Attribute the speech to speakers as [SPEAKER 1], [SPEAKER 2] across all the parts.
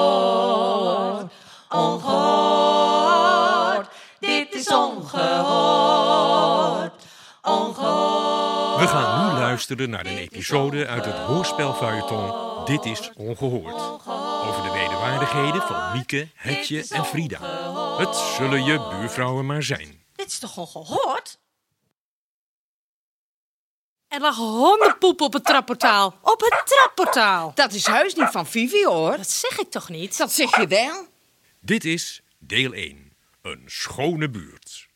[SPEAKER 1] ongehoord. Ongehoord. Dit is ongehoord. Ongehoord.
[SPEAKER 2] We gaan nu luisteren naar een episode uit het hoorspelfeuilleton Dit is Ongehoord. Over de wederwaardigheden van Mieke, Hetje en Frida. Het zullen je buurvrouwen maar zijn.
[SPEAKER 1] Dit is toch ongehoord?
[SPEAKER 3] Er lag hondenpoep op het trapportaal.
[SPEAKER 1] Op het trapportaal.
[SPEAKER 4] Dat is heus niet van Vivi, hoor.
[SPEAKER 3] Dat zeg ik toch niet?
[SPEAKER 4] Dat zeg je wel.
[SPEAKER 2] Dit is deel 1. Een schone buurt.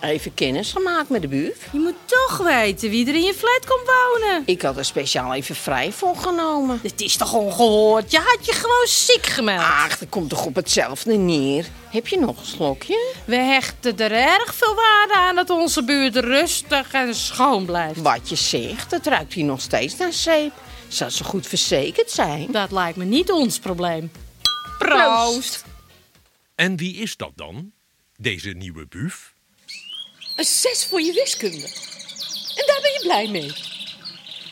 [SPEAKER 4] Even kennis gemaakt met de buurt.
[SPEAKER 3] Je moet toch weten wie er in je flat komt wonen.
[SPEAKER 4] Ik had er speciaal even vrij voor genomen.
[SPEAKER 3] Dit is toch ongehoord? Je had je gewoon ziek gemeld.
[SPEAKER 5] Ah.
[SPEAKER 4] Ach, dat komt toch op hetzelfde neer. Heb je nog een slokje?
[SPEAKER 3] We hechten er erg veel waarde aan dat onze buurt rustig en schoon blijft.
[SPEAKER 4] Wat je zegt, dat ruikt hier nog steeds naar zeep. Zou ze goed verzekerd zijn?
[SPEAKER 3] Dat lijkt me niet ons probleem.
[SPEAKER 4] Proost.
[SPEAKER 2] En wie is dat dan? Deze nieuwe buuf?
[SPEAKER 5] Een zes voor je wiskunde. En daar ben je blij mee.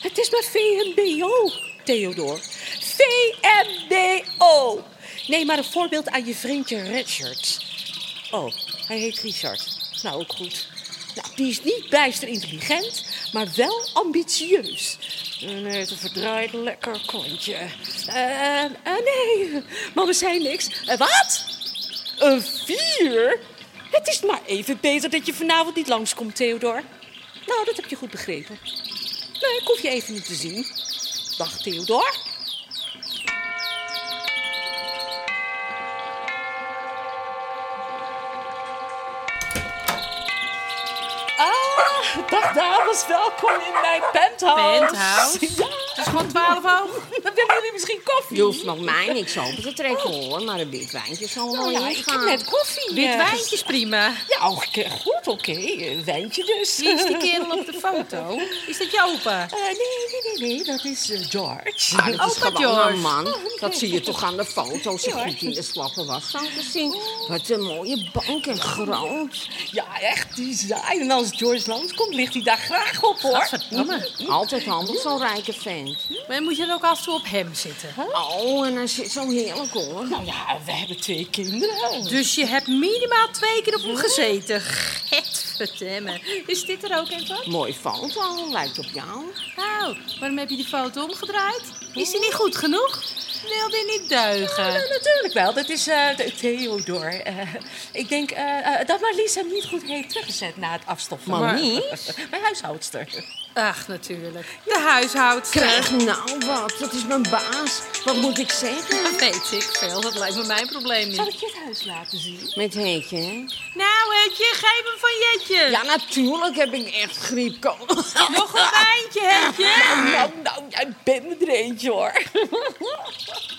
[SPEAKER 5] Het is maar VMBO, Theodor. VMBO. Neem maar een voorbeeld aan je vriendje Richard. Oh, hij heet Richard. Nou, ook goed. Nou, die is niet bijster intelligent, maar wel ambitieus. En hij heeft een eh, verdraaid lekker kontje. Eh, eh, nee, mama zei niks. Eh, wat? Een vier? Het is maar even beter dat je vanavond niet langskomt, Theodor. Nou, dat heb je goed begrepen. Nee, ik hoef je even niet te zien. Dag, Theodor. Ah, dag dames, welkom in mijn penthouse.
[SPEAKER 3] Penthouse?
[SPEAKER 5] Ja,
[SPEAKER 3] Het is gewoon 12 hoog.
[SPEAKER 5] dan willen jullie misschien koffie.
[SPEAKER 4] Je hoeft nog mij niks open te trekken, hoor. Maar een wit wijntje zal wel
[SPEAKER 5] Nou ja, ik heb
[SPEAKER 4] ingaan.
[SPEAKER 5] net koffie.
[SPEAKER 3] Wit
[SPEAKER 5] eh,
[SPEAKER 3] wijntje is prima.
[SPEAKER 5] Ja,
[SPEAKER 4] Nou, eh,
[SPEAKER 5] oké, goed, oké. Een wijntje dus.
[SPEAKER 3] Wie is die kerel op de foto? Is dat je opa?
[SPEAKER 5] Eh, nee, nee, nee, nee, dat is eh, George.
[SPEAKER 4] Ah, dat is
[SPEAKER 3] Opa
[SPEAKER 4] gewoon een
[SPEAKER 3] George.
[SPEAKER 4] man. Dat zie je toch aan de foto's. Zo goed in de slappe was zo te zien. Wat een mooie bank en groot.
[SPEAKER 5] Ja, echt design. En als George langskomt, ligt hij daar graag op, hoor.
[SPEAKER 3] Gadverdamme.
[SPEAKER 4] Altijd handig, zo'n rijke vent.
[SPEAKER 3] Maar moet je dan ook af en toe op hem zitten?
[SPEAKER 4] Oh, en hij zit zo heerlijk, hoor.
[SPEAKER 5] Nou ja, we hebben twee kinderen.
[SPEAKER 3] Dus je hebt minimaal twee keer op hem gezeten. Gadverdamme. Is dit er ook een van?
[SPEAKER 4] Mooi foto, lijkt op jou.
[SPEAKER 3] Nou, waarom heb je die foto omgedraaid? Is die niet goed genoeg? Wil die niet deugen?
[SPEAKER 5] Ja, natuurlijk wel. Dat is eh, de- Theodor. Eh, ik denk eh, eh, dat Marlies hem niet goed heeft teruggezet na het afstoffen.
[SPEAKER 4] Marlies?
[SPEAKER 5] Mijn huishoudster.
[SPEAKER 3] Ach, natuurlijk. De huishoudster.
[SPEAKER 4] Krijg nou wat, dat is mijn baas. Wat moet ik zeggen?
[SPEAKER 3] Dat weet ik veel. Dat lijkt me mijn probleem
[SPEAKER 5] Zal
[SPEAKER 3] niet.
[SPEAKER 5] ik je het huis laten zien?
[SPEAKER 4] Met Heetje, hè?
[SPEAKER 3] Nou, Hetje, geef hem van Jetje.
[SPEAKER 4] Ja, natuurlijk heb ik echt griep. Kom.
[SPEAKER 3] Nog een wijntje, Hetje.
[SPEAKER 5] Nou, nou, jij bent er eentje, hoor.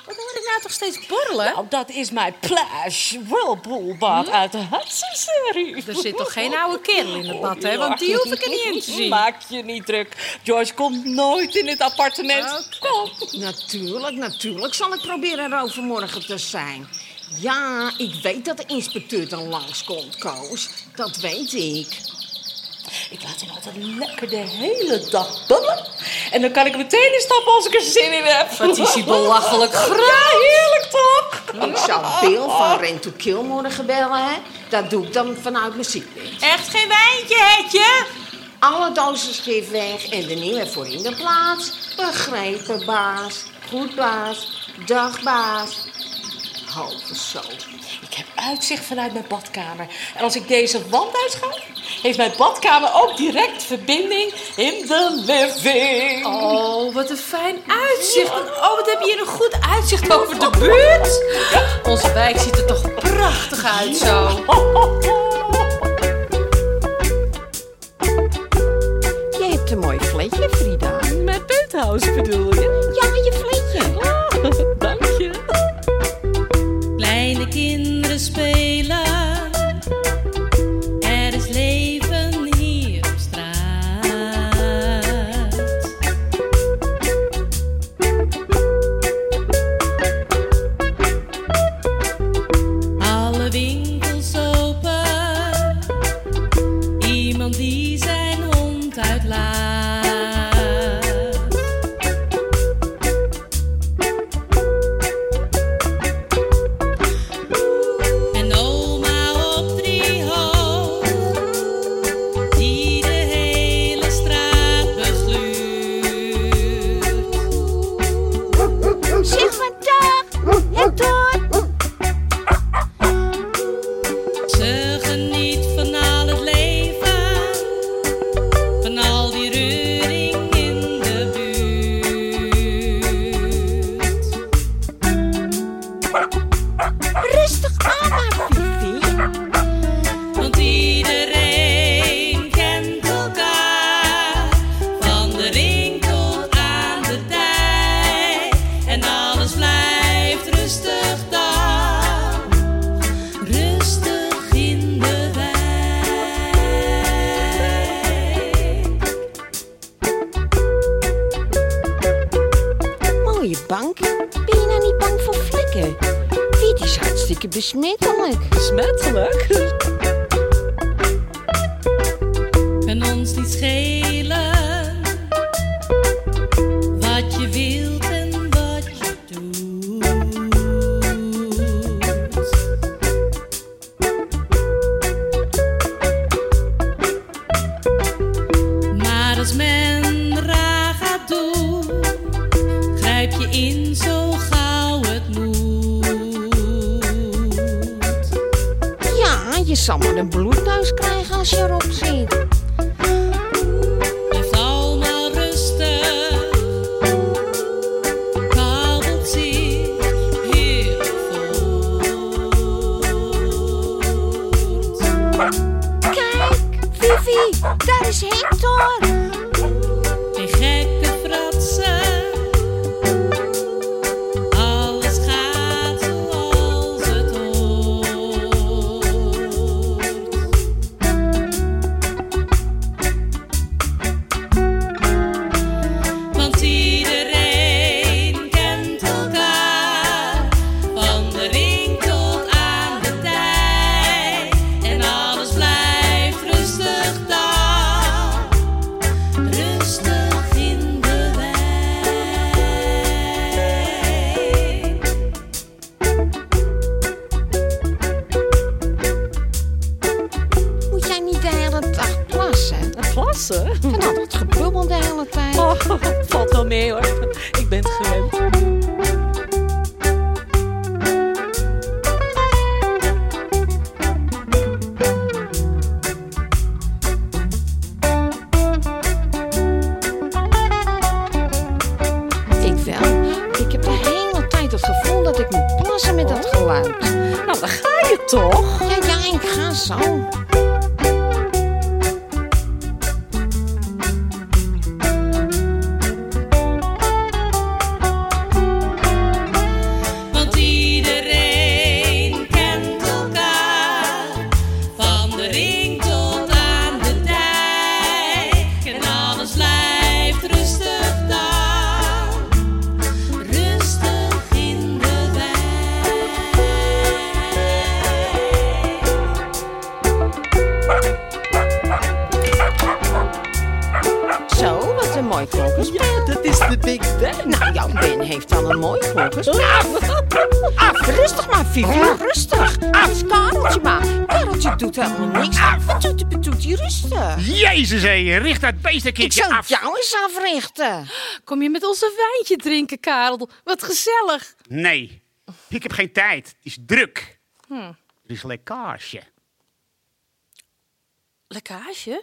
[SPEAKER 3] Wat hoor ik nou toch steeds borrelen?
[SPEAKER 5] Nou, dat is mijn plash whirlpoolbad uit de Hudson serie.
[SPEAKER 3] Er zit toch geen oude kerel in het bad, hè? Want die hoef ik er niet in te zien.
[SPEAKER 5] Maak je niet druk. George komt nooit in het appartement.
[SPEAKER 3] Oké.
[SPEAKER 5] Kom.
[SPEAKER 4] Natuurlijk, natuurlijk zal ik proberen er overmorgen te zijn. Ja, ik weet dat de inspecteur dan langskomt, Koos. Dat weet ik.
[SPEAKER 5] Ik laat hem altijd lekker de hele dag babbelen. En dan kan ik meteen instappen als ik er zin in heb.
[SPEAKER 3] Wat
[SPEAKER 4] Dus
[SPEAKER 3] is hij belachelijk groot.
[SPEAKER 5] Ja, heerlijk toch?
[SPEAKER 4] Ik zou Bill van Rent to Kill morgen bellen, hè? Dat doe ik dan vanuit mijn ziekbed.
[SPEAKER 3] Echt geen wijntje, Hetje.
[SPEAKER 4] Alle dozen schrift weg en de nieuwe voor in de plaats. Begrepen, baas. Goed, baas. Dag, baas. Halve zo.
[SPEAKER 5] Ik heb uitzicht vanuit mijn badkamer. En als ik deze wand uitga, heeft mijn badkamer ook direct verbinding in de living.
[SPEAKER 3] Oh, wat een fijn uitzicht. En Oh, wat heb je hier een goed uitzicht over de buurt. Onze wijk ziet er toch prachtig uit zo.
[SPEAKER 4] Je hebt een mooi vletje, Frida.
[SPEAKER 5] Mijn penthouse bedoel je?
[SPEAKER 4] Ja, je vletje.
[SPEAKER 5] Dank je.
[SPEAKER 1] Kleine kinderen spelen. Er is leven hier op straat. Alle winkels open. Iemand die zijn hond uitlaat.
[SPEAKER 4] bang? Ben je nou niet bang voor flikken? Wiet is hartstikke besmettelijk.
[SPEAKER 5] Besmettelijk?
[SPEAKER 1] Kan ons niet schelen wat je wilt en wat je doet. Maar als men raar gaat doen, grijp je in zo gauw het moet.
[SPEAKER 4] Ja, je zal maar een bloedneus krijgen als je erop zit.
[SPEAKER 1] Blijf allemaal rustig, kabelt zich heel voort.
[SPEAKER 4] Kijk, Vivi, daar is Hector.
[SPEAKER 1] Geen gekke fratsen, alles gaat zoals het hoort. Want iedereen kent elkaar, van de ring tot aan de tijd. En alles blijft rustig daar, rustig in de wei.
[SPEAKER 4] Moet jij niet de hele dag plassen?
[SPEAKER 5] Klasse.
[SPEAKER 4] Van al dat gebubbel de hele tijd.
[SPEAKER 5] Oh, valt wel mee hoor. Ik ben het gewend.
[SPEAKER 4] Ik wel. Ik heb de hele tijd het gevoel dat ik moet plassen met dat geluid.
[SPEAKER 5] Nou, dan ga je toch?
[SPEAKER 4] Ja, ja, ik ga zo.
[SPEAKER 1] Want iedereen kent elkaar, van de ring tot aan de dijk. En alles blijft rustig daar, rustig in de wei.
[SPEAKER 4] Zo, wat een mooi klokkenspel.
[SPEAKER 5] Ja, dat is de Big Bang.
[SPEAKER 4] Nou, jouw Ben heeft wel een mooi klokkenspel. Af, rustig maar, Vivi. Rustig. Af, Kareltje maar. Kareltje doet helemaal niks. Betoetie, betoetie, rustig.
[SPEAKER 6] Jezus, hé, richt dat
[SPEAKER 4] Ik
[SPEAKER 6] beestenkindje
[SPEAKER 4] zal
[SPEAKER 6] af.
[SPEAKER 4] jou
[SPEAKER 5] Nou
[SPEAKER 4] eens africhten.
[SPEAKER 3] Kom je met ons een wijntje drinken, Karel? Wat gezellig.
[SPEAKER 6] Nee, ik heb geen tijd. Het is druk. Er is lekkage.
[SPEAKER 3] Lekkage?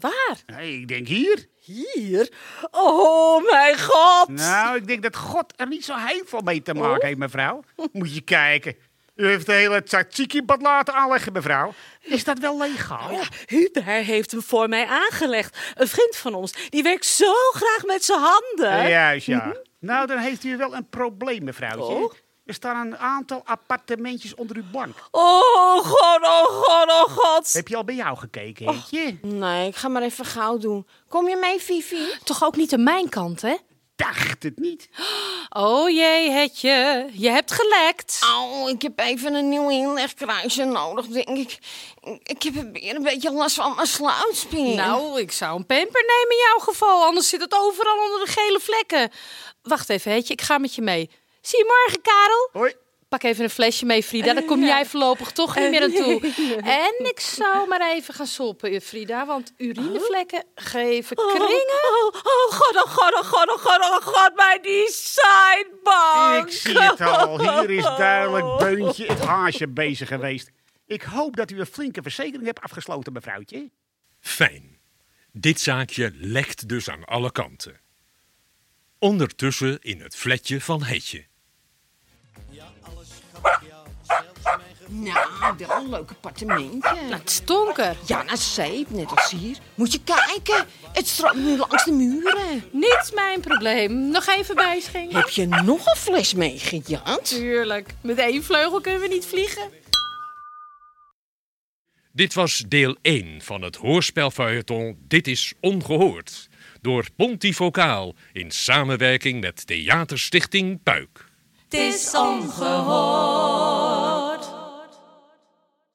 [SPEAKER 3] Waar?
[SPEAKER 6] Nee, ik denk hier.
[SPEAKER 5] Hier? Oh, mijn god.
[SPEAKER 6] Nou, ik denk dat God er niet zo heel veel mee te maken heeft, mevrouw. Moet je kijken. U heeft de hele tzatziki-bad laten aanleggen, mevrouw. Is dat wel
[SPEAKER 3] Oh,
[SPEAKER 6] legaal?
[SPEAKER 5] Hubert heeft hem voor mij aangelegd. Een vriend van ons. Die werkt zo graag met zijn
[SPEAKER 3] Eh,
[SPEAKER 5] handen.
[SPEAKER 6] Juist, ja. Nou, dan heeft u wel een probleem, mevrouwtje.
[SPEAKER 5] Oh.
[SPEAKER 6] Er staan een aantal appartementjes onder uw bank.
[SPEAKER 5] Oh, god, oh, god, oh, god.
[SPEAKER 6] Heb je al bij jou gekeken, Heetje?
[SPEAKER 4] Nee, ik ga maar even gauw doen. Kom je mee, Vivi?
[SPEAKER 3] Toch ook niet aan mijn kant, hè?
[SPEAKER 6] Dacht het niet.
[SPEAKER 3] Oh jee, Hetje. Je hebt gelekt.
[SPEAKER 4] Oh, ik heb even een nieuw inlegkruisje nodig, denk ik. Ik heb weer een beetje last van mijn sluitspier.
[SPEAKER 3] Nou, ik zou een pamper nemen in jouw geval. Anders zit het overal onder de gele vlekken. Wacht even, Hetje. Ik ga met je mee. Zie je morgen, Karel.
[SPEAKER 6] Hoi.
[SPEAKER 3] Pak even een flesje mee, Frida. Daar kom jij voorlopig toch niet meer aan toe. En ik zou maar even gaan soppen, Frida. Want urinevlekken geven kringen.
[SPEAKER 5] Oh, oh, god, oh, god, oh, god, oh, god, oh, god, mijn designbank.
[SPEAKER 6] Ik zie het al. Hier is duidelijk Beuntje het haasje bezig geweest. Ik hoop dat u een flinke verzekering hebt afgesloten, mevrouwtje.
[SPEAKER 2] Fijn. Dit zaakje lekt dus aan alle kanten. Ondertussen in het fletje van Hetje.
[SPEAKER 4] Nou, wel een leuk appartementje.
[SPEAKER 3] Het stonker.
[SPEAKER 4] Ja, naar zeep, net als hier. Moet je kijken, het stroomt nu langs de muren.
[SPEAKER 3] Niet mijn probleem. Nog even bijschenken.
[SPEAKER 4] Heb je nog een fles meegejat?
[SPEAKER 3] Tuurlijk. Met één vleugel kunnen we niet vliegen.
[SPEAKER 2] Dit was deel 1 van het hoorspelfeuilleton Dit is Ongehoord. door Pontifocaal in samenwerking met Theaterstichting Puik.
[SPEAKER 1] Het is ongehoord.